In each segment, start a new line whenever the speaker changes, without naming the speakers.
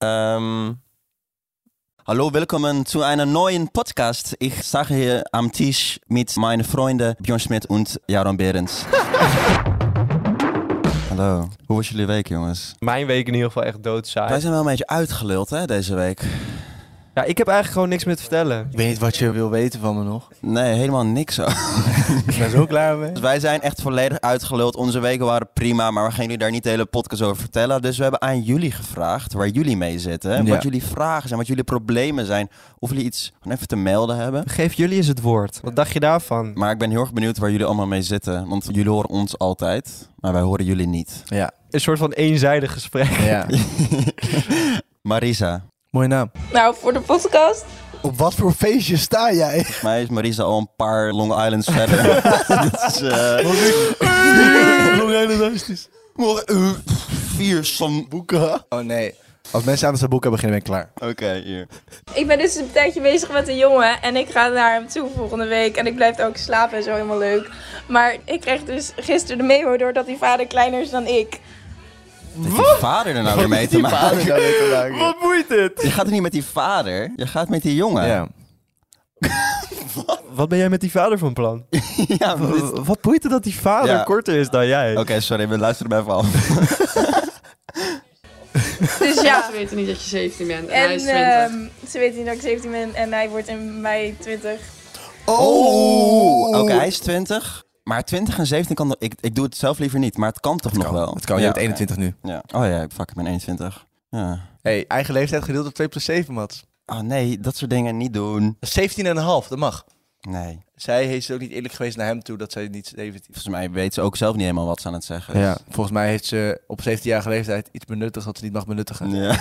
Ähm, hallo, willkommen zu einer neuen Podcast. Ich sage hier am Tisch mit meinen Freunden Björn Schmidt und Jaron Behrens. hallo, hoe was jullie week, jongens?
Mijn week in ieder geval echt
Wij
doodsaai.
zijn wel een beetje uitgeluld hè, deze week.
Ja, ik heb eigenlijk gewoon niks meer te vertellen.
Ik weet niet wat je wil weten van me nog.
Nee, helemaal niks.
Ik ben zo klaar mee.
Dus wij zijn echt volledig uitgeluld. Onze weken waren prima, maar we gaan jullie daar niet de hele podcast over vertellen. Dus we hebben aan jullie gevraagd waar jullie mee zitten.
Ja.
Wat jullie vragen zijn, wat jullie problemen zijn. Of jullie iets gewoon even te melden hebben.
Geef jullie eens het woord. Wat dacht je daarvan?
Maar ik ben heel erg benieuwd waar jullie allemaal mee zitten. Want jullie horen ons altijd, maar wij horen jullie niet.
Ja,
Een soort van eenzijdig gesprek.
ja.
Marisa.
Mooie naam.
Nou, voor de podcast.
Op wat voor feestje sta jij?
Volgens mij is Marisa al een paar Long Islands verder. Dat is, eh, vier som...
Boeken. Oh nee. Als mensen aan het boeken beginnen, ben ik klaar.
Oké, hier.
Ik ben dus een tijdje bezig met een jongen en ik ga naar hem toe volgende week. En ik blijf daar ook slapen en zo helemaal leuk. Maar ik kreeg dus gisteren de memo door dat die vader kleiner is dan ik.
Heeft die vader er nou weer mee te maken?
maken.
Wat boeit het?
Je gaat er niet met die vader, je gaat met die jongen.
Ja.
Wat ben jij met die vader van plan?
Ja, maar dit-
Wat boeit het dat die vader
Ja.
korter is dan jij?
Oké, sorry, we luisteren bij even af.
Dus ja.
Ze weten niet dat je 17 bent en, hij
En
is 20.
ehm, ze weten niet dat ik 17 ben en hij wordt in mei 20.
Oh!
Oké, hij is 20. Maar 20 en 17 kan... toch- Ik, ik doe het zelf liever niet, maar het kan toch nog wel?
Het kan, je
Ja,
hebt 21 nu.
oké. Ja. Oh ja, fuck, ik ben 21. Ja.
hey, eigen leeftijd gedeeld door 2 plus 7, Mats.
Oh nee, dat soort dingen niet doen.
17 en een half, dat mag.
Nee.
Zij is ook niet eerlijk geweest naar hem toe dat zij niet 17
Volgens mij weet ze ook zelf niet helemaal wat ze aan het zeggen is.
Ja, volgens mij heeft ze op 17-jarige leeftijd iets benuttigd wat ze niet mag benuttigen.
Ja.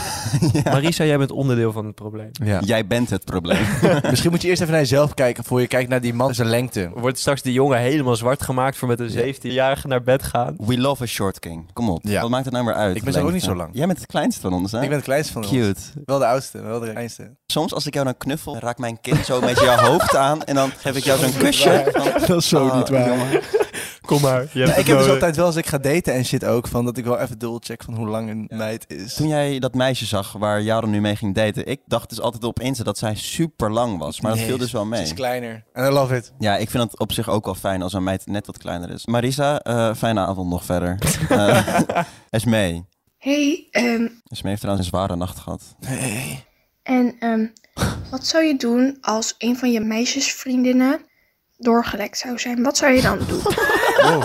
Marisa, jij bent onderdeel van het probleem.
Ja.
Jij bent het probleem.
Misschien moet je eerst even naar jezelf kijken voor je kijkt naar die man zijn lengte.
Wordt straks die jongen helemaal zwart gemaakt voor met een 17-jarige naar bed gaan?
We love a short king. Kom op.
Ja.
Wat maakt het nou weer uit?
Ik ben zelf ook niet zo lang.
Jij bent het kleinste van ons, hè?
Ik ben het kleinste van ons.
Cute.
Wel de oudste, wel de kleinste.
Soms als ik jou dan knuffel, raakt mijn kind zo met jouw hoofd aan. En dan geef ik jou zo'n kusje. Van,
Dat is zo
oh, jongen.
Kom maar. Je
ik heb dus altijd wel als ik ga daten en shit ook, van dat ik wel even dubbelcheck van hoe lang een meid is.
Toen jij dat meisje zag waar Jaron nu mee ging daten, ik dacht dus altijd op Insta dat zij super lang was. Maar dat
Nee,
viel dus wel
Ze
mee.
is kleiner. And I love it.
Ja, ik vind het op zich ook wel fijn als een meid net wat kleiner is. Marisa, eh, fijne avond nog verder. Eh Esmee.
Hey, ehm,
Esmee heeft trouwens een zware nacht gehad.
en ehm, wat zou je doen als een van je meisjesvriendinnen doorgelekt zou zijn? Wat zou je dan doen?
Oh.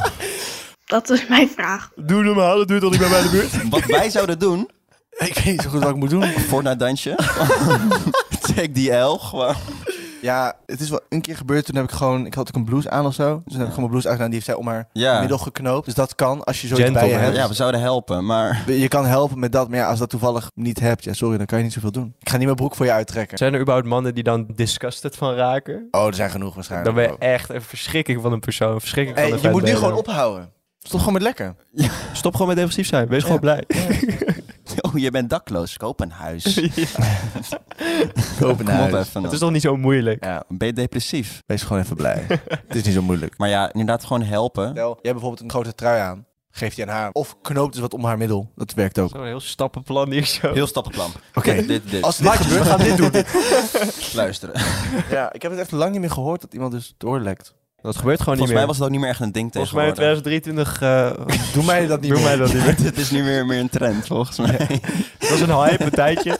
Dat is mijn vraag.
Doe normaal, het duurt tot ik ben bij de buurt.
Wat wij zouden doen,
Ik weet niet zo goed wat ik moet doen.
Fortnite dansje. Take die L gewoon.
Ja, het is wel een keer gebeurd. Toen heb ik gewoon, ik had ook een blouse aan of zo. Dus toen heb ik gewoon mijn blouse aangedaan. Die heeft zij om haar
Ja.
middel geknoopt. Dus dat kan als je zoiets bij je
Gentleman.
hebt.
Ja, we zouden helpen, maar...
Je kan helpen met dat, maar ja, als dat toevallig niet hebt, ja, sorry, dan kan je niet zoveel doen. Ik ga niet mijn broek voor je uittrekken.
Zijn er überhaupt mannen die dan disgusted van raken?
Oh, er zijn genoeg waarschijnlijk.
Dan ben je echt een verschrikking van een persoon. een Verschrikking
Hey,
van een
je moet nu
ventbeler.
gewoon ophouden. Stop gewoon met lekker.
Stop gewoon met depressief zijn. Wees gewoon blij.
Oh, je bent dakloos. Koop een huis.
Koop
Kom op even.
Het
dan.
is toch niet zo moeilijk.
Ja,
Ben je depressief?
wees gewoon even blij. het is niet zo moeilijk.
Maar ja, inderdaad gewoon helpen.
Stel, jij hebt bijvoorbeeld een grote trui aan. Geef die aan haar. Of knoopt dus wat om haar middel. Dat werkt ook.
Zo'n heel stappenplan hier zo.
Heel stappenplan. Oké. dit, dit.
Als het dit gebeurt, gaan we dit doen.
Luisteren.
ja, ik heb het echt lang niet meer gehoord dat iemand dus doorlekt.
Dat gebeurt gewoon
Volgens
niet
mij
meer.
was het ook niet meer echt een ding
Volgens mij in
tegenwoordig.
2023...
Doe mij dat niet
Doe
meer.
mij dat niet meer.
Het is nu meer, meer een trend, volgens mij.
Dat was een hype, een tijdje.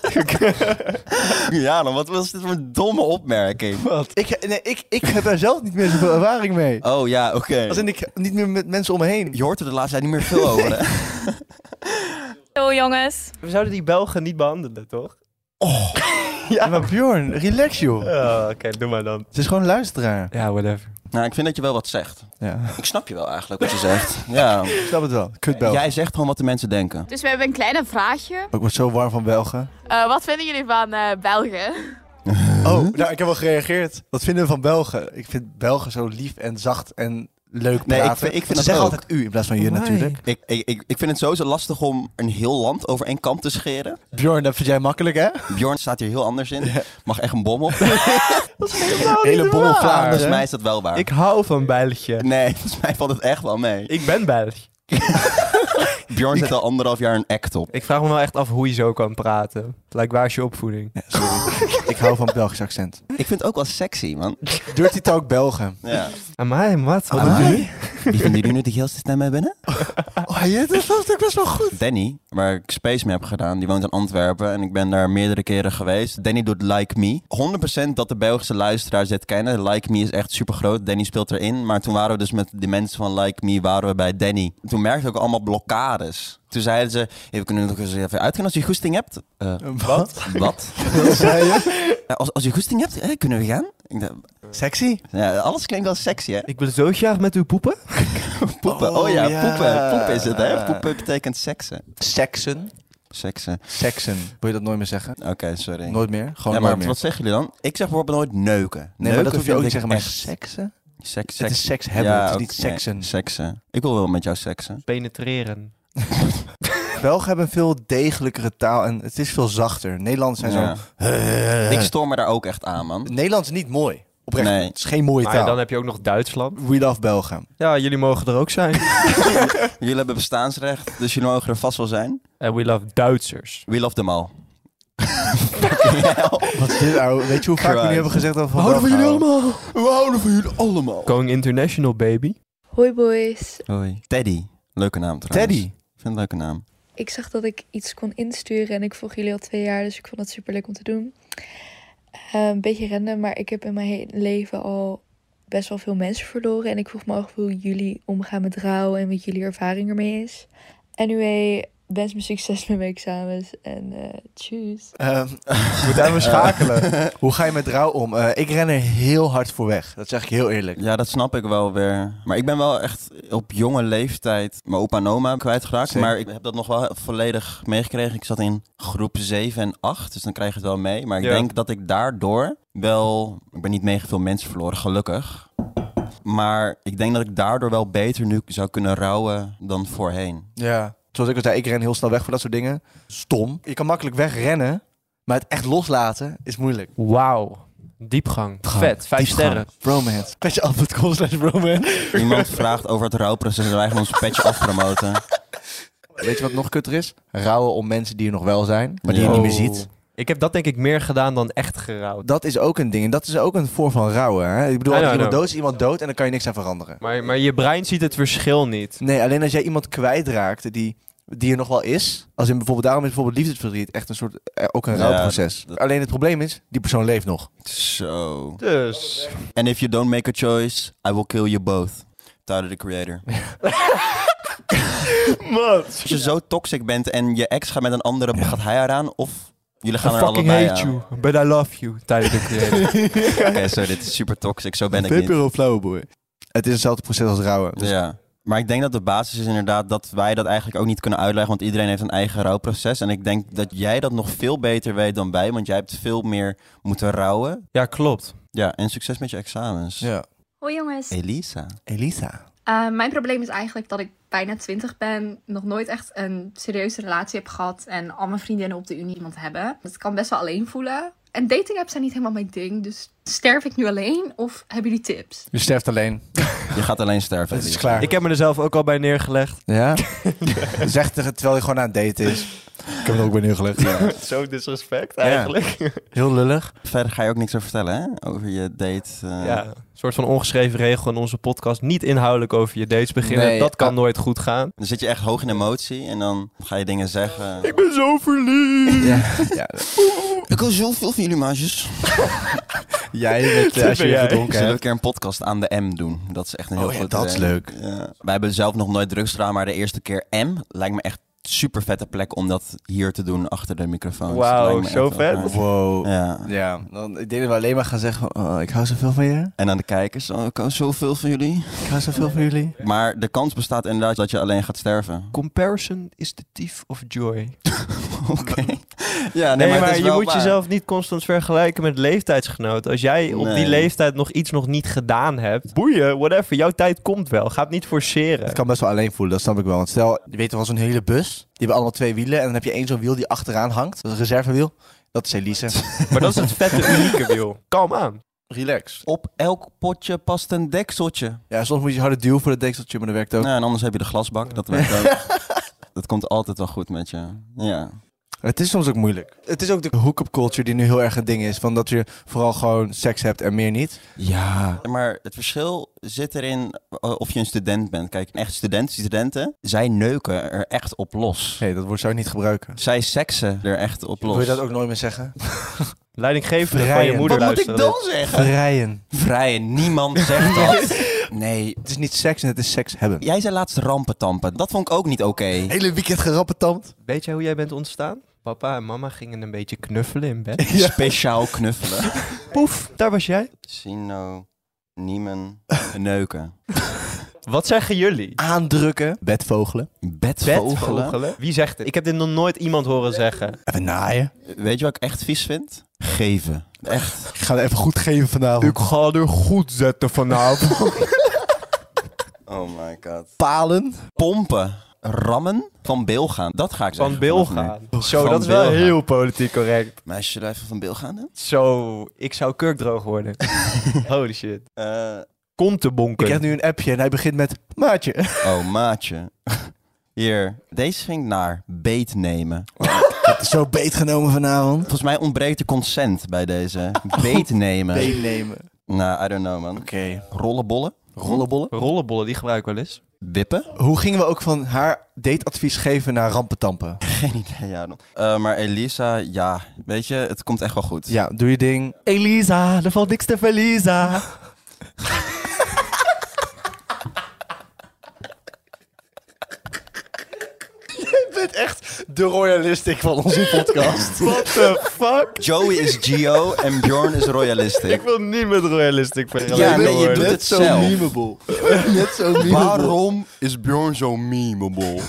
ja, dan wat was dit voor een domme opmerking?
Wat? Ik, nee, ik, ik heb daar zelf niet meer zoveel ervaring mee.
Oh ja, oké.
Als in, ik niet meer met mensen om me heen.
Je hoort er de laatste tijd niet meer veel over, hè?
Yo jongens.
We zouden die Belgen niet behandelen, toch?
Ja, maar Bjorn, relax joh.
Oh, Oké, doe maar dan.
Het is gewoon luisteraar.
Ja, whatever.
Nou, ik vind dat je wel wat zegt.
Ja,
Ik snap je wel eigenlijk wat je zegt. Ja.
ik snap het wel. Kut Belgen.
Jij zegt gewoon wat de mensen denken.
Dus we hebben een kleine vraagje.
Ik word zo warm van Belgen.
Eh, wat vinden jullie van eh, België?
Oh, nou, ik heb wel gereageerd. Wat vinden we van Belgen? Ik vind Belgen zo lief en zacht en leuk praten.
Nee, ik vind- ik vind
Ze
dat
zeggen
ook.
altijd u in plaats van je natuurlijk.
Ik, ik, ik, ik vind het sowieso lastig om een heel land over één kam te scheren.
Bjorn, dat vind jij makkelijk, hè?
Bjorn staat hier heel anders in. Mag echt een bom op.
Hele bommel Vlaanderen.
Volgens mij is dat wel waar.
Ik hou van België.
Nee, volgens mij valt het echt wel mee.
Ik ben Belg.
Bjorn zit al anderhalf jaar een act op.
Ik vraag me wel echt af hoe je zo kan praten. Het lijkt waar is je opvoeding?
Ja, sorry. ik hou van Belgisch accent.
Ik vind het ook wel sexy, man.
Dirty Talk Belgen.
Ja.
Amai, wat?
Wat doet u? Wie vinden jullie nu de geilste stem bij binnen?
Oh, je, dat was ook best wel goed.
Danny, waar ik Space Mee heb gedaan, die woont in Antwerpen en ik ben daar meerdere keren geweest. Danny doet Like Me. 100% dat de Belgische luisteraars dit kennen. Like Me is echt super groot. Danny speelt erin. Maar toen waren we dus met de mensen van Like Me waren we bij Danny. Toen merkten we ook allemaal blokkades. Toen zeiden ze, hey, we kunnen nog eens even uitgaan als je goesting hebt. Eh,
Wat?
wat?
Wat zei je?
Ja, als, als je goesting hebt, eh, kunnen we gaan? Ik dacht,
Sexy?
ja, alles klinkt wel sexy, hè?
Ik wil zo graag met u poepen.
Poepen. Oh,
Oh,
ja,
ja.
poepen. Poepen is het, hè? Poepen betekent seksen.
Seksen.
Seksen.
Seksen. Wil je dat nooit meer zeggen?
Oké, sorry.
Nooit meer? Gewoon
ja,
nooit
maar
meer.
wat zeggen jullie dan? Ik zeg bijvoorbeeld nooit neuken.
nee, maar
Neuken
dat hoef je
vind
ook niet
ik
zeggen. Maar
echt-
seksen?
Seks,
Het
seks.
is seks hebben,
Ja,
het is
ook-
niet
nee,
seksen.
seksen. Ik wil wel met jou seksen.
Penetreren.
Belgen hebben een veel degelijkere taal en het is veel zachter. Nederlands zijn
Ja.
zo... Eh.
Ik stoor me daar ook echt aan, man.
Nederlands is niet mooi. Oprecht,
Nee.
het is geen mooie
Maar ja,
taal.
dan heb je ook nog Duitsland.
We love Belgen.
Ja, jullie mogen er ook zijn.
Jullie hebben bestaansrecht, dus jullie mogen er vast wel zijn.
En we love Duitsers.
We love them all.
Wat is dit, ouwe? Weet je hoe vaak we nu
Christ.
hebben gezegd dat we van Belgen houden?
allemaal. We houden van jullie allemaal.
Going international, baby.
Hoi boys,
Hoi. Teddy. Leuke naam trouwens.
Teddy.
Ik vind het een leuke naam.
ik zag dat ik iets kon insturen en ik volg jullie al twee jaar, dus ik vond het super leuk om te doen. Eh, een beetje random, maar ik heb in mijn hele leven al best wel veel mensen verloren en ik vroeg me af hoe jullie omgaan met rouw en wat jullie ervaring ermee is. Anyway, wens me succes met mijn examens en eh tjus.
Ehm, Ik moet even schakelen. Hoe ga je met rouw om? Eh, ik ren er heel hard voor weg. Dat zeg ik heel eerlijk.
Ja, dat snap ik wel weer. Maar ik ben wel echt op jonge leeftijd mijn opa en oma kwijtgeraakt.
Zeker.
Maar ik heb dat nog wel volledig meegekregen. Ik zat in groep 7 en 8, dus dan krijg je het wel mee. Maar ik
Ja.
denk dat ik daardoor wel... Ik ben niet mega veel mensen verloren, gelukkig. Maar ik denk dat ik daardoor wel beter nu zou kunnen rouwen dan voorheen.
Ja. Zoals ik al zei, ik ren heel snel weg voor dat soort dingen. Stom. Je kan makkelijk wegrennen, maar het echt loslaten is moeilijk.
Wauw. Diepgang. Vet. Vijf
Diepgang.
sterren.
Bromance. Petje af met kom slash bromance.
Iemand vraagt over het rouwproces en wij gaan ons petje afpromoten.
Weet je wat nog kutter is? Rouwen om mensen die er nog wel zijn, maar die je
Ja.
niet meer ziet.
Ik heb dat denk ik meer gedaan dan echt gerouwd.
Dat is ook een ding. En dat is ook een vorm van rouwen. Hè? Ik bedoel,
I
als
know,
iemand
I know.
dood is, iemand dood en dan kan je niks aan veranderen.
Maar, maar je brein ziet het verschil niet.
Nee, alleen als jij iemand kwijtraakt die, die er nog wel is. Als in bijvoorbeeld, daarom is bijvoorbeeld liefdesverdriet echt een soort, eh, ook een
Ja,
rouwproces.
dat-
Alleen het probleem is, die persoon leeft nog.
Zo.
Dus.
And if you don't make a choice, I will kill you both. Tyler, the creator.
Wat?
Als je zo toxic bent en je ex gaat met een andere, gaat hij haar aan? Of jullie gaan
I
er
fucking
allebei
hate
aan?
you, but I love you. Tyler, the creator.
Oké, sorry, dit is super toxic. Zo ben ik niet.
Pepero Flowerboy. Het is hetzelfde proces als rouwen. Dus
Ja. Maar ik denk dat de basis is inderdaad dat wij dat eigenlijk ook niet kunnen uitleggen. Want iedereen heeft een eigen rouwproces. En ik denk dat jij dat nog veel beter weet dan wij. Want jij hebt veel meer moeten rouwen.
ja, klopt.
Ja, en succes met je examens.
ja.
Hoi jongens.
Elisa.
Elisa.
Eh, mijn probleem is eigenlijk dat ik bijna twintig ben, nog nooit echt een serieuze relatie heb gehad en al mijn vriendinnen op de unie iemand hebben. Dus ik kan best wel alleen voelen. En dating apps zijn niet helemaal mijn ding, dus sterf ik nu alleen of hebben jullie tips?
Je sterft alleen.
Je gaat alleen sterven.
Het is
Elisa.
klaar.
Ik heb me er zelf ook al bij neergelegd.
Ja? zeg tegen terwijl je gewoon aan het daten is. Ik heb het ook bij neergelegd.
Zo disrespect
eigenlijk. Heel lullig.
Verder ga je ook niks over vertellen, hè? Over je date. eh.
Ja. Een soort van ongeschreven regel in onze podcast. Niet inhoudelijk over je dates beginnen.
Nee,
dat kan
ah.
nooit goed gaan.
Dan zit je echt hoog in emotie en dan ga je dingen zeggen.
Ik ben zo verliefd.
Ja. ja.
Ik hou zoveel van jullie, maatjes.
Jij bent,
Dat
eh, als je
ben
weer
jij.
Zullen
gedronken
we
hebt.
een keer een podcast aan de M doen? Dat is echt een heel
Oh ja,
goed
dat
idee.
is leuk.
Ja. Wij hebben zelf nog nooit drugs gedaan, maar de eerste keer M lijkt me echt super vette plek om dat hier te doen achter de microfoon.
Wauw, zo vet.
Wow.
Ja.
Ja, dan, ik denk dat we alleen maar gaan zeggen, oh, ik hou zoveel van je.
En aan de kijkers, oh, ik hou zoveel van jullie.
Ik hou zoveel van jullie.
Maar de kans bestaat inderdaad dat je alleen gaat sterven.
Comparison is the thief of joy.
Oké. Ja,
Nee, maar,
het is
je
wel
moet
waar.
jezelf niet constant vergelijken met leeftijdsgenoten. Als jij op
Nee.
die leeftijd nog iets nog niet gedaan hebt, boeien, whatever. Jouw tijd komt wel. Ga het niet forceren.
Het kan best wel alleen voelen, dat snap ik wel. Want stel, je weet toch wel zo'n hele bus, die hebben allemaal twee wielen. En dan heb je één zo'n wiel die achteraan hangt, dat is een reservewiel. Dat is Elise.
Maar dat is het vette unieke, wiel. Kalm aan.
Relax.
Op elk potje past een dekseltje.
Ja, soms moet je harder duwen voor het dekseltje, maar dat werkt ook.
Nou, en anders heb je de glasbak, dat werkt ook. Het komt altijd wel goed met je. Ja.
Het is soms ook moeilijk. Het is ook de hookup culture die nu heel erg het ding is. Van dat je vooral gewoon seks hebt en meer niet.
Ja. Maar het verschil zit erin eh, of je een student bent. Kijk, echt studenten, studenten, zij neuken er echt op los.
Nee, dat woord zou ik niet gebruiken.
Zij seksen er echt op los.
Wil je dat ook nooit meer zeggen?
Leidinggevende van je
Vrijen.
moeder
Wat moet ik
luisteren.
dan zeggen?
Vrijen.
Vrijen, niemand zegt dat. Nee.
Het is niet seks en het is seks hebben.
Jij zei laatst rampentampen. Dat vond ik ook niet oké.
Hele weekend gerappetampt.
Weet jij hoe jij bent ontstaan? Papa en mama gingen een beetje knuffelen in bed.
Speciaal knuffelen.
Poef, daar was jij.
Sino, Niemen, neuken.
Wat zeggen jullie?
Aandrukken. Bedvogelen.
Bedvogelen.
Bedvogelen? Wie zegt het? Ik heb dit nog nooit iemand horen zeggen.
Even naaien.
Weet je wat ik echt vies vind? Geven. Echt.
Ik ga het even goed geven vanavond.
ga er goed zetten vanavond.
Oh my god.
Palen.
Pompen. Rammen. Van Bil gaan. Dat ga ik
Van
zeggen
Bil
vanaf nu.
gaan. Zo,
Van
dat is wel
Bil gaan.
heel politiek correct.
Meisje, zullen we even van Bil gaan doen?
Zo, ik zou kurkdroog worden. Holy shit.
Eh,
Komt te
Ik
bonken.
krijg nu een appje en hij begint met maatje.
oh, maatje. Hier. Deze ging naar beet nemen.
Het is zo beetgenomen vanavond.
Volgens mij ontbreekt de consent bij deze. Beet nemen.
Beennemen. Oké.
Nou, I don't know, man. Rollenbollen.
Rollenbollen.
Rollenbollen, die gebruik ik wel eens.
Wippen.
Hoe gingen we ook van haar dateadvies geven naar rampentampen?
Geen idee, ja. dan. Eh, maar Elisa, ja, weet je, het komt echt wel goed.
Ja, doe je ding. Elisa, er valt niks te verliezen. Jij bent echt de royalistic van onze podcast.
What the fuck?
Joey is Gio en Bjorn is royalistic.
Ik wil niet met royalistic
Ja,
vergelijken
nee, je
worden.
doet het zelf.
memeable. Je bent Net zo
is Bjorn zo memeable?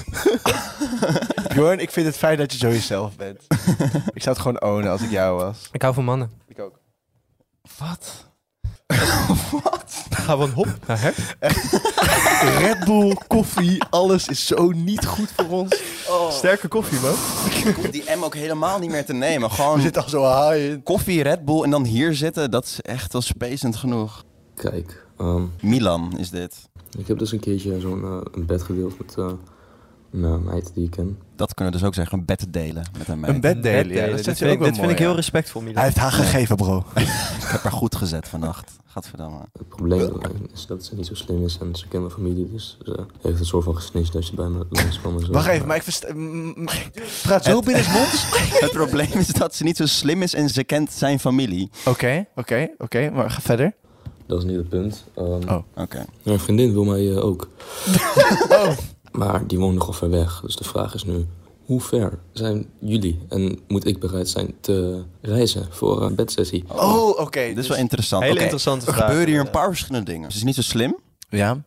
Bjorn, ik vind het fijn dat je zo jezelf bent. ik zou het gewoon ownen als ik jou was.
Ik hou van mannen.
Ik ook.
Wat?
Gaan we een hop naar her?
Red Bull, koffie, alles is zo niet goed voor ons.
Oh.
Sterke koffie, man.
Ik hoef die M ook helemaal niet meer te nemen. Gewoon
We zitten al zo high in.
koffie, Red Bull en dan hier zitten, dat is echt wel spacend genoeg.
Kijk, ehm,
Milan is dit.
ik heb dus een keertje zo'n eh, een bed gedeeld met eh, een eh, meid die ik ken.
Dat kunnen we dus ook zeggen, een bed delen met een meid.
Een bed delen, ja, dat
dit vind,
zet je ook
ik,
wel
dit vind
mooi,
ik heel
ja.
respectvol, Milan.
Hij heeft haar gegeven, bro.
Ik heb haar goed gezet vannacht. Gadverdamme.
Het probleem alleen is dat ze niet zo slim is en ze kent mijn familie, dus ze heeft een soort van gesnitcht dat je bij me langs dus, eh, kwam en zo.
Wacht even, maar ik versta... mm, mm, Praat zo binnensmonds?
Het probleem is dat ze niet zo slim is en ze kent zijn familie.
Oké, oké, oké, maar ga verder.
Dat is niet het punt. Ehm,
Oh.
Oké.
Mijn vriendin wil mij eh, ook.
Oh.
Maar die woont nogal ver weg, dus de vraag is nu... Hoe ver zijn jullie en moet ik bereid zijn te reizen voor een bedsessie?
Oh, oké.
Dit is wel interessant.
dus Hele
Oké,
interessante
Er
vraag.
gebeuren hier een paar verschillende dingen. Ze is niet zo slim.
Ja,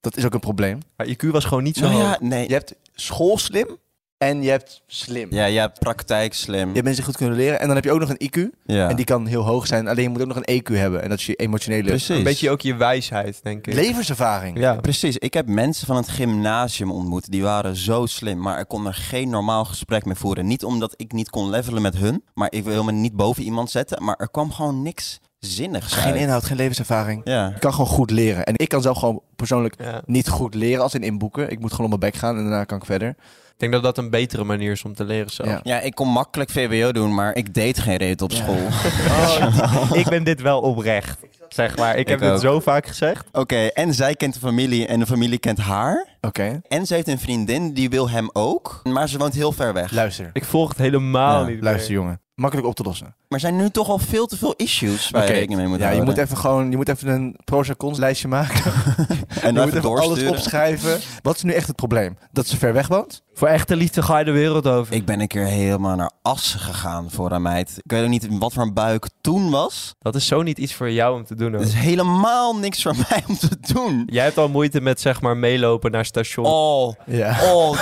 dat is ook een probleem.
Haar IQ was gewoon niet zo
Nou
hoog.
ja, nee.
Je hebt schoolslim en je hebt slim.
Ja, jij hebt praktijk slim.
Je hebt mensen goed kunnen leren en dan heb je ook nog een IQ.
Mm. Ja.
En die kan heel hoog zijn, alleen je moet ook nog een EQ hebben. En dat is je emotionele
Precies.
Een beetje ook je wijsheid, denk ik.
levenservaring.
ja.
Precies, ik heb mensen van het gymnasium ontmoet. Die waren zo slim, maar ik kon er geen normaal gesprek mee voeren. Niet omdat ik niet kon levelen met hun, maar ik wil me niet boven iemand zetten. Maar er kwam gewoon niks zinnigs
Geen
uit.
inhoud, geen levenservaring.
Ja.
Je kan gewoon goed leren. En ik kan zelf gewoon persoonlijk
Ja.
niet goed leren als in inboeken. Ik moet gewoon op mijn bek gaan en daarna kan ik verder.
Ik denk dat dat een betere manier is om te leren zelf.
Ja.
ja, ik kon makkelijk VWO doen, maar ik deed geen reet op school.
Oh, ik ben dit wel oprecht, zeg maar. Ik heb
Ik
dit
ook.
zo vaak gezegd.
Oké, en zij kent de familie en de familie kent haar.
Oké,
En ze heeft een vriendin, die wil hem ook. Maar ze woont heel ver weg.
luister.
Ik volg het helemaal
Ja,
niet meer.
Luister jongen, makkelijk op te lossen.
Maar er zijn nu toch al veel te veel issues waar je rekening mee moet
ja, je
houden.
moet even gewoon, je moet even een pro's en cons lijstje maken.
en
je
dan
moet
even
even alles
doorsturen.
opschrijven. Wat is nu echt het probleem? Dat ze ver weg woont?
Voor echte liefde ga je de wereld over.
Ik ben een keer helemaal naar Assen gegaan voor een meid. Ik weet ook niet wat voor een buik toen was.
Dat is zo niet iets voor jou om te doen. hoor.
Het is helemaal niks voor mij om te doen.
Jij hebt al moeite met zeg maar meelopen naar station.
Oh,
Ja.
oh.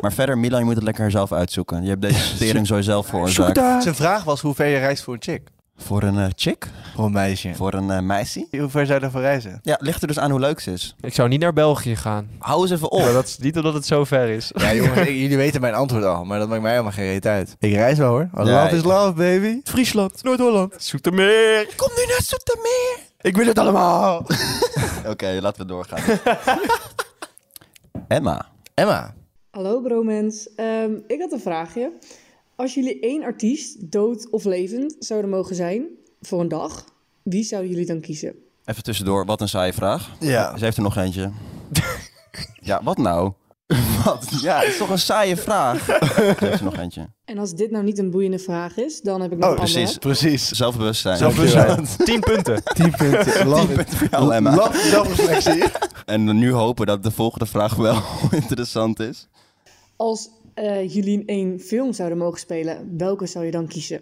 maar verder, Milan, je moet het lekker zelf uitzoeken. Je hebt deze tering zo zelf veroorzaakt.
Zijn vraag was hoe ver je reist voor een chick.
Voor een eh, chick?
Voor een meisje.
Voor een eh, meisje?
Hoe ver zou je daarvoor reizen?
Ja, ligt er dus aan hoe leuk ze is.
Ik zou niet naar België gaan.
Hou eens even op.
Maar dat is niet omdat het zo ver is.
Ja jongens, ik- jullie weten mijn antwoord al, maar dat maakt mij helemaal geen reet uit. Ik reis wel hoor. Love
Ja,
is
ik-
love baby.
Friesland, Noord-Holland, Zoetermeer.
Kom nu naar Soetermeer. Ik wil het allemaal.
Oké, laten we doorgaan. Emma.
Emma.
Hallo bromens. Ehm, ik had een vraagje. Als jullie één artiest, dood of levend, zouden mogen zijn voor een dag, wie zouden jullie dan kiezen?
Even tussendoor, wat een saaie vraag.
Ja.
Ze heeft er nog eentje. ja, wat nou? wat? Ja, het is toch een saaie vraag. Ze heeft er nog eentje.
En als dit nou niet een boeiende vraag is, dan heb ik nog een andere.
precies.
Precies.
Zelfbewustzijn.
Zelfbewustzijn. 10 punten.
10 punten. Love it.
Punt voor jou, Emma.
Love zelfreflectie.
En nu hopen dat de volgende vraag wel interessant is.
Als eh, jullie in één film zouden mogen spelen, welke zou je dan kiezen?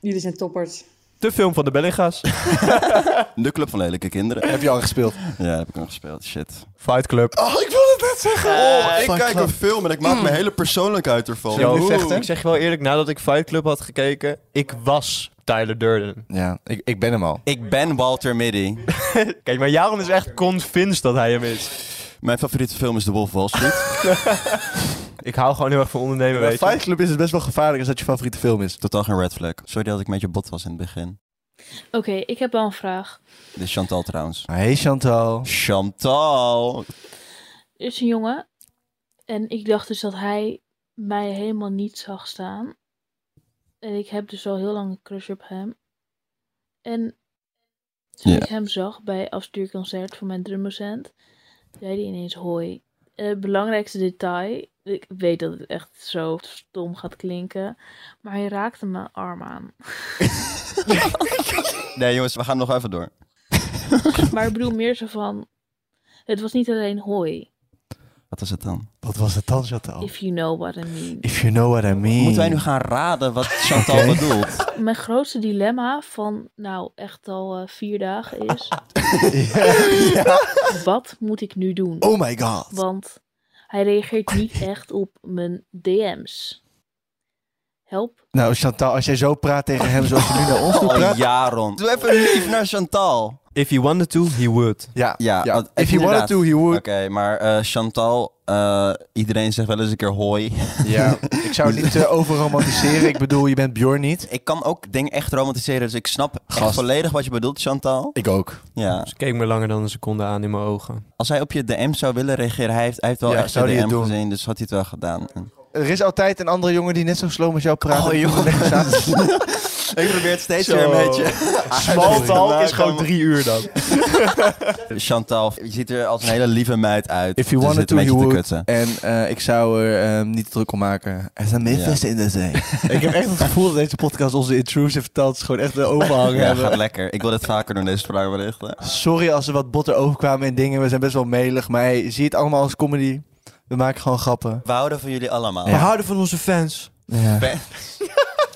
Jullie zijn toppers.
De film van de Bellinga's.
De Club van Lelijke Kinderen.
Heb je al gespeeld?
Ja, heb ik al gespeeld. Shit.
Fight Club.
Oh, ik wilde het net zeggen. Oh, ik
Fight
kijk
Club.
een film en ik
Mm.
maak mijn hele persoonlijkheid ervan.
Zullen we nu
Yo,
vechten?
Ik zeg je wel eerlijk, nadat ik Fight Club had gekeken, ik was Tyler Durden.
Ja, ik, ik ben hem al.
Ik ben Walter Mitty.
Kijk, maar Jaron is echt convinced dat hij hem is.
Mijn favoriete film is The Wolf of Wall Street.
Ik hou gewoon heel erg van ondernemen, weet je.
Fight Club is het best wel gevaarlijk als dat je favoriete film is.
Totaal geen red flag. Sorry dat ik met je bot was in het begin.
Oké, ik heb wel een vraag.
Dit is Chantal trouwens.
Hey Chantal.
Chantal.
Er is een jongen en ik dacht dus dat hij mij helemaal niet zag staan. En ik heb dus al heel lang een crush op hem. En toen
Ja.
ik hem zag bij afstuurconcert van mijn drummercent, zei hij ineens hoi. En het belangrijkste detail, ik weet dat het echt zo stom gaat klinken, maar hij raakte mijn arm aan.
Nee jongens, we gaan nog even door.
Maar ik bedoel meer zo van, het was niet alleen hoi,
Wat is het dan?
Wat was het dan, Chantal?
if you know what I mean.
If you know what I mean.
Moeten wij nu gaan raden wat Chantal
Oké.
bedoelt?
Mijn grootste dilemma van, nou, echt al eh, vier dagen is...
Ja, ja.
wat moet ik nu doen?
Oh my god.
Want hij reageert niet echt op mijn DM's. Help.
Nou, Chantal, als jij zo praat tegen hem zoals je nu naar ons toe
Oh,
praat.
Jaron. Doe even lief naar Chantal.
If he wanted to, he would.
Ja,
Ja,
ja.
want-
If he
inderdaad.
wanted to, he
Oké,
would.
maar eh, Chantal, eh, iedereen zegt wel eens een keer hoi.
Ja, ik zou het niet eh, overromantiseren. Ik bedoel, je bent Bjorn niet.
Ik kan ook dingen echt romantiseren, dus ik snap echt
Gast.
volledig wat je bedoelt, Chantal.
Ik ook.
Ja.
Ze Dus keek me langer dan een seconde aan in mijn ogen.
Als hij op je DM zou willen reageren, hij heeft, hij heeft wel
Ja,
echt
zou
zijn
hij het
DM
doen?
gezien, dus had hij het wel gedaan. En-
Er is altijd een andere jongen die net zo sloom als jou praat. Oh joh.
Ik probeer het steeds
Zo.
weer een beetje.
Small talk is
Maar
gewoon
dan-
drie uur dan.
Chantal, je ziet er als een hele lieve meid uit.
If you
Dus
wanted
dit een
to, you
beetje te
would.
kutten.
En eh, ik zou er eh, niet druk om maken. Er zijn
Memphis
in de zee. ik heb echt het gevoel dat deze podcast onze intrusive thoughts gewoon echt de overhang
Ja,
hebben.
gaat lekker. Ik wil dit vaker doen, deze spraakberichten.
Sorry als er wat botter overkwamen en dingen. We zijn best wel melig, maar hey, zie het allemaal als comedy. We maken gewoon grappen.
We houden van jullie allemaal.
We houden van onze fans.
Ja.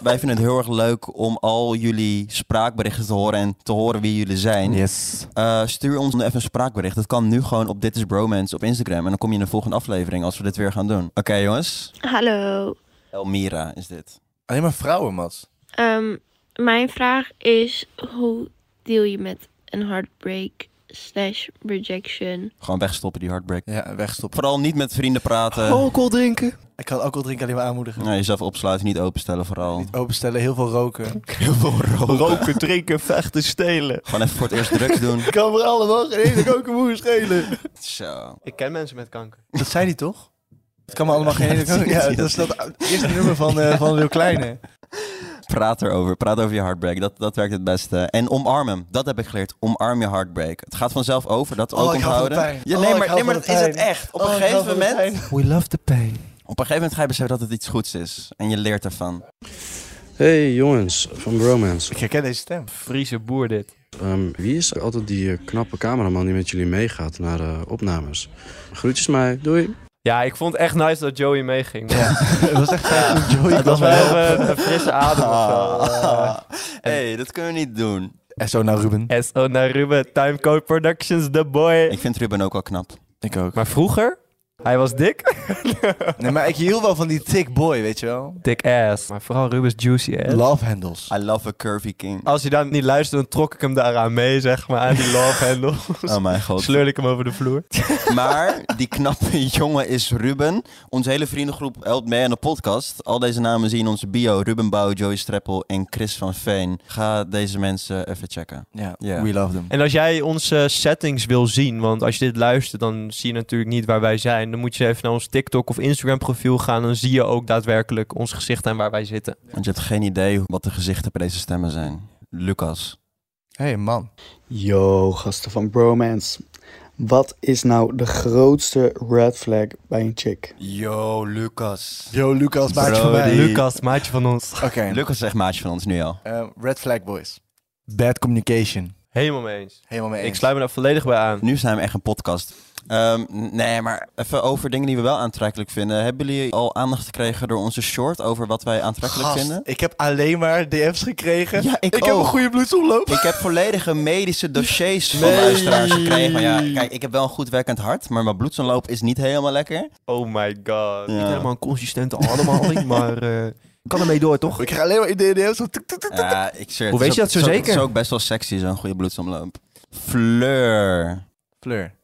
Wij vinden het heel erg leuk om al jullie spraakberichten te horen en te horen wie jullie zijn.
Yes.
Eh, stuur ons even een spraakbericht. Dat kan nu gewoon op Dit is Bromance op Instagram. En dan kom je in de volgende aflevering als we dit weer gaan doen. Oké jongens,
Hallo.
Elmira is dit.
Alleen maar vrouwen, Mats.
Ehm, mijn vraag is: hoe deal je met een heartbreak slash rejection?
Gewoon wegstoppen die heartbreak.
Ja, wegstoppen.
Vooral niet met vrienden praten.
Alcohol drinken. Ik kan alcohol drinken alleen maar aanmoedigen.
Nee, jezelf opsluiten, niet openstellen vooral.
Openstellen, heel veel roken.
Heel
Oh,
veel roken.
Roken, drinken, vechten, stelen.
Gewoon even voor het eerst drugs doen.
Ik kan me allemaal geen ene kokenmoer schelen.
Zo.
Ik ken mensen met kanker.
Dat zei hij toch? Het kan me allemaal geen ene koken. Ja, dat is dat eerste nummer van, eh van Lil Kleine.
Praat erover. Praat over je heartbreak. Dat, dat werkt het beste. En omarm hem. Dat heb ik geleerd. Omarm je heartbreak. Het gaat vanzelf over. Dat
Oh,
ook
ik hou van
onthouden.
pijn.
Ja,
Oh,
nee,
ik
maar,
hou
nee, maar
van
dat
de
is het
pijn. Oh,
echt. Op een gegeven moment...
We love the pain.
Op een gegeven moment ga je beseffen dat het iets goeds is. En je leert ervan.
Hey jongens van Bromance.
Ik herken deze stem.
Friese boer dit.
Ehm, wie is er altijd die eh, knappe cameraman die met jullie meegaat naar eh, opnames? Groetjes mij, doei.
Ja, ik vond het echt nice dat Joey meeging. man.
Het was echt fijn toen Joey
Het was
kwam
wel
helpen.
even een frisse adem of zo.
Ah.
Eh,
hey, dat kunnen we niet doen.
En zo nou Ruben.
SO naar Ruben, Timecode Productions, the boy.
Ik vind Ruben ook wel knap.
Ik ook.
Maar vroeger, hij was dik.
Nee, maar ik hield wel van die thick boy, weet je wel.
Dik ass. Maar vooral Ruben's juicy ass.
Love handles.
I love a curvy king.
Als hij dan niet luisterde, dan trok ik hem daaraan mee, zeg maar. Aan die love handle.
Oh mijn god.
Sleurde ik hem over de vloer.
Maar die knappe jongen is Ruben. Onze hele vriendengroep helpt mee aan de podcast. Al deze namen zien in onze bio. Ruben Bouw, Joey Streppel en Chris van Veen. Ga deze mensen even checken.
Ja,
Ja.
we love them.
En als jij onze settings wil zien, want als je dit luistert, dan zie je natuurlijk niet waar wij zijn. dan moet je even naar ons TikTok of Instagram profiel gaan. Dan zie je ook daadwerkelijk ons gezicht en waar wij zitten.
Want je hebt geen idee wat de gezichten bij deze stemmen zijn. Lucas.
hey, man.
Yo, gasten van Bromance. Wat is nou de grootste red flag bij een chick?
Yo, Lucas.
Yo, Lucas, maatje van mij. Lucas,
maatje van ons.
Oké. Lucas zegt maatje van ons nu al.
Eh, red flag boys. Bad communication.
Helemaal mee eens.
Helemaal mee
Ik sluit me daar volledig bij aan.
Nu zijn we echt een podcast. Ehm, nee, maar even over dingen die we wel aantrekkelijk vinden. Hebben jullie al aandacht gekregen door onze short over wat wij aantrekkelijk
Gast,
vinden?
ik heb alleen maar DM's gekregen.
Ja, ik
heb
ook.
een goede bloedsomloop.
Ik heb volledige medische dossiers van luisteraars gekregen. Maar ja, kijk, ik heb wel een goed werkend hart, maar mijn bloedsomloop is niet helemaal lekker.
Oh my god.
Ja.
Niet helemaal een consistente ademhaling, maar eh, kan ermee door, toch?
Ik krijg alleen maar DM's. Zo tuk, tuk, tuk.
Ja, Eh, ik zweer, het is
Hoe weet je
ook-
dat zo
het is ook-
zeker?
Het is ook best wel sexy, zo'n goede bloedsomloop. Fleur.
Fleur.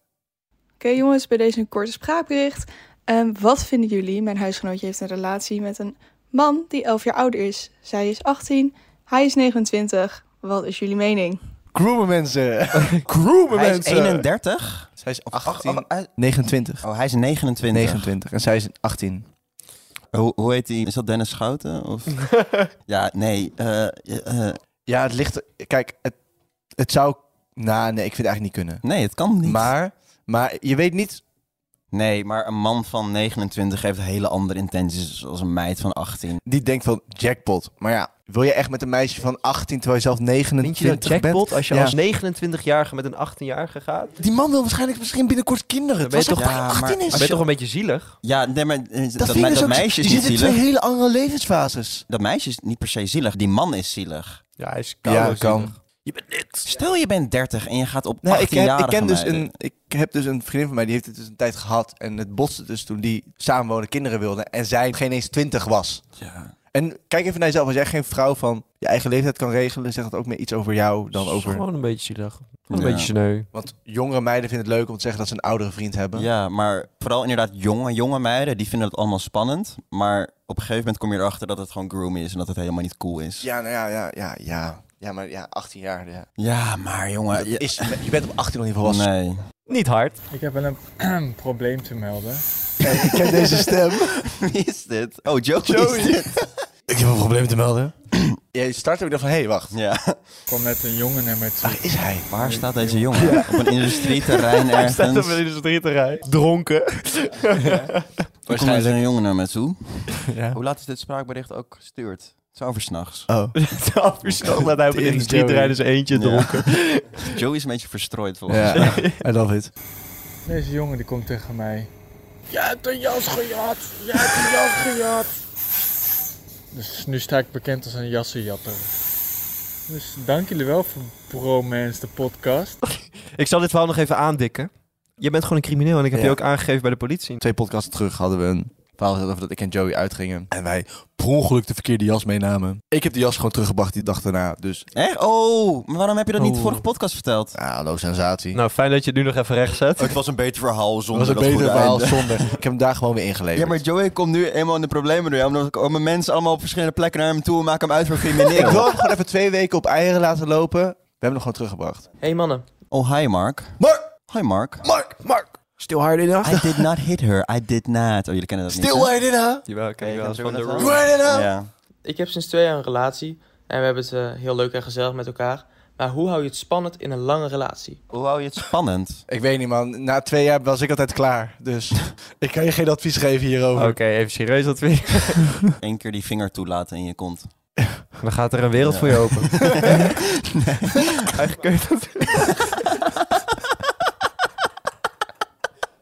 Oké jongens, bij deze een korte spraakbericht. Ehm, wat vinden jullie? Mijn huisgenootje heeft een relatie met een man die 11 jaar ouder is. Zij is 18, hij is 29. Wat is jullie mening?
Groomen mensen. Groomen
Hij is
mensen.
31.
Zij is
18.
29.
Oh, hij is 29.
29 en zij is 18.
Hoe, hoe heet die? Is dat Dennis Schouten? Of? ja, nee. eh, eh, eh,
Ja, het ligt... Kijk, het, het zou... Nou, nee, ik vind het eigenlijk niet kunnen.
nee, het kan niet.
Maar, maar je weet niet...
Nee, maar een man van 29 heeft hele andere intenties als een meid van 18.
Die denkt van jackpot. Maar ja, wil je echt met een meisje van 18 terwijl je zelf 29
Vind je dat jackpot
bent?
als je
Ja.
als 29-jarige met een 18-jarige gaat?
Die man wil waarschijnlijk misschien binnenkort kinderen.
Dan ben je,
Terwijl
toch,
ze echt 18
maar,
is.
ben je toch een beetje zielig?
Ja, nee, maar eh, dat,
Dat,
dat,
vind ik dus
dat
ook-
meisje is
die
niet
zitten in
zielig.
twee hele andere levensfases.
Dat meisje is niet per se zielig. Die man is zielig.
Ja, hij is
koude Ja, kan. zielig.
Je bent niks.
Stel je bent 30 en je gaat op
Nou,
18
ik, heb, ik, ken dus
meiden.
een, ik heb dus een vriendin van mij, die heeft het dus een tijd gehad. En het botste dus toen die samenwonen kinderen wilden. En zij geen eens 20 was.
Ja.
En kijk even naar jezelf. Als jij geen vrouw van je eigen leeftijd kan regelen, zegt dat ook meer iets over jou dan over...
Gewoon een beetje zielig.
Een
Een
Ja.
beetje
beetje
sneu.
Want jongere meiden vinden het leuk om te zeggen dat ze een oudere vriend hebben.
Ja, maar vooral inderdaad jonge, jonge meiden, die vinden het allemaal spannend. Maar op een gegeven moment kom je erachter dat het gewoon groom is en dat het helemaal niet cool is.
Ja, nou ja, ja, ja, ja. Ja, maar ja, 18 jaar. Ja.
Ja, maar jongen... Je,
Is, je bent op 18 nog niet volwassen.
Nee.
Niet hard.
Ik heb wel een probleem te melden.
Ik ken deze stem.
Wie is dit? Oh, Joey,
Joey.
is dit.
Ik heb een probleem te melden. Jij start ook dan van, hé, hey, wacht.
Ja.
Ik kwam net een jongen naar mij toe.
Waar is hij?
Waar staat deze jongen? Op een industrieterrein ergens.
industrieterrein. Dronken.
Er komt dus een jongen naar me toe.
Ja.
Hoe laat is dit spraakbericht ook gestuurd? Het is over s'nachts.
Oh.
Twaalf uur s'nachts laat hij op een
Tering,
industrieterrein
Joey.
dus eentje
Ja.
dronken.
Joey is een beetje verstrooid volgens mij.
Ja, I love it.
Deze jongen die komt tegen mij. Jij hebt een jas gejat! Jij hebt een jas gejat! Dus nu sta ik bekend als een jassenjatter. Dus dank jullie wel voor Bromance, de podcast.
Ik zal dit verhaal nog even aandikken. Je bent gewoon een crimineel en ik heb
Ja.
je ook aangegeven bij de politie.
Twee podcasts terug hadden we een verhaal gehad over dat ik en Joey uitgingen. En wij per ongeluk de verkeerde jas meenamen. Ik heb de jas gewoon teruggebracht die dag daarna. Dus,
Echt? Oh, maar waarom heb je dat niet
Oh.
vorige podcast verteld?
ah, hallo sensatie.
Nou, fijn dat je het nu nog even recht zet.
Het was een beter verhaal
dat
zonder
was een
dat
beter
goede
verhaal
einde.
zonder. Ik heb hem daar gewoon weer ingeleverd.
Ja, maar Joey komt nu eenmaal in de problemen door. Omdat ik- mijn mensen allemaal op verschillende plekken naar hem toe en maken hem uit voor
Ik
crimineel.
wil hem gewoon even twee weken op eieren laten lopen. We hebben hem gewoon teruggebracht.
hey, mannen.
Oh, hi Mark.
Mark!
Hi Mark.
Mark! Mark!
Still hard enough?
I did not hit her. I did not. Oh, jullie kennen dat niet. hè?
in, hè?
Jawel, ken
Nee,
je wel.
dat is
Van de
ook net
room.
wel. Ja.
Ik heb sinds twee jaar een relatie en we hebben het eh, heel leuk en gezellig met elkaar. Maar hoe hou je het spannend in een lange relatie?
Hoe hou je het spannend?
Ik weet niet, man. Na twee jaar was ik altijd klaar. Dus ik kan je geen advies geven hierover.
Oké, even serieus dat weer.
Eén keer die vinger toelaten in je kont.
Dan gaat er een wereld
Ja.
voor je open.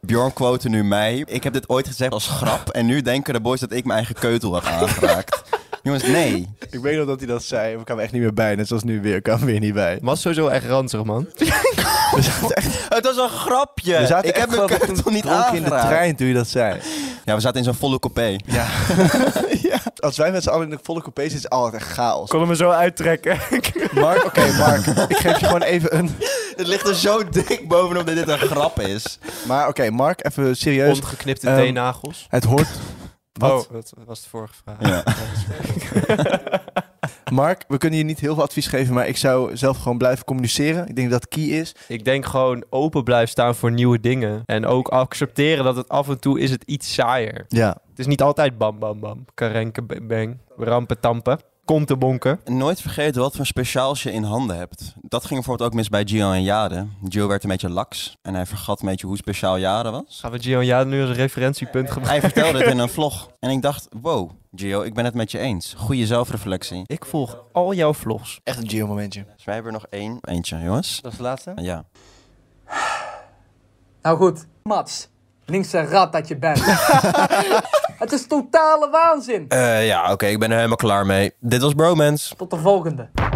Bjorn quote nu mij. Ik heb dit ooit gezegd als grap. En nu denken de boys dat ik mijn eigen keutel heb aangeraakt. Jongens, nee.
Ik weet nog dat hij dat zei. maar Ik kwam er echt niet meer bij. Net zoals nu weer. Ik kwam er weer niet bij.
Was sowieso echt ranzig, man.
Het was een grapje.
We zaten
ik heb
echt
mijn
gewoon
keutel niet
dronken
aangeraakt.
in de trein toen je dat zei.
Ja, we zaten in zo'n volle coupé.
Als wij met z'n allen in de volle coupé zitten, is het altijd echt chaos.
Kon hem er zo uittrekken.
Mark, oké, Mark. Ik geef je gewoon even een...
Het ligt er zo dik bovenop dat dit een grap is.
Maar oké, Mark, even serieus.
Ongeknipte
Ehm,
teennagels.
Oh.
Het hoort... Wat?
Oh, dat was de vorige vraag.
Ja.
Mark, we kunnen je niet heel veel advies geven, maar ik zou zelf gewoon blijven communiceren. Ik denk dat key is.
Ik denk gewoon open blijven staan voor nieuwe dingen. En ook accepteren dat het af en toe is het iets saaier.
Ja.
Het is niet altijd bam bam bam, karenke ba- bang, rampen tampen, kom te bonken.
Nooit vergeten wat voor speciaals je in handen hebt. Dat ging bijvoorbeeld ook mis bij Gio en Jade. Gio werd een beetje laks en hij vergat een beetje hoe speciaal Jade was.
Gaan we Gio en Jade nu als referentiepunt gebruiken?
Hij vertelde het in een vlog en ik dacht, wow, Gio, ik ben het met je eens. Goede zelfreflectie.
Ik volg al jouw vlogs.
Echt een Gio-momentje.
Dus wij hebben er nog één. Eentje, jongens.
Dat is de laatste?
Ja.
Nou goed, Mats. Linkse rat dat je bent. het is totale waanzin.
Eh, ja, oké, ik ben er helemaal klaar mee. Dit was Bromance.
Tot de volgende.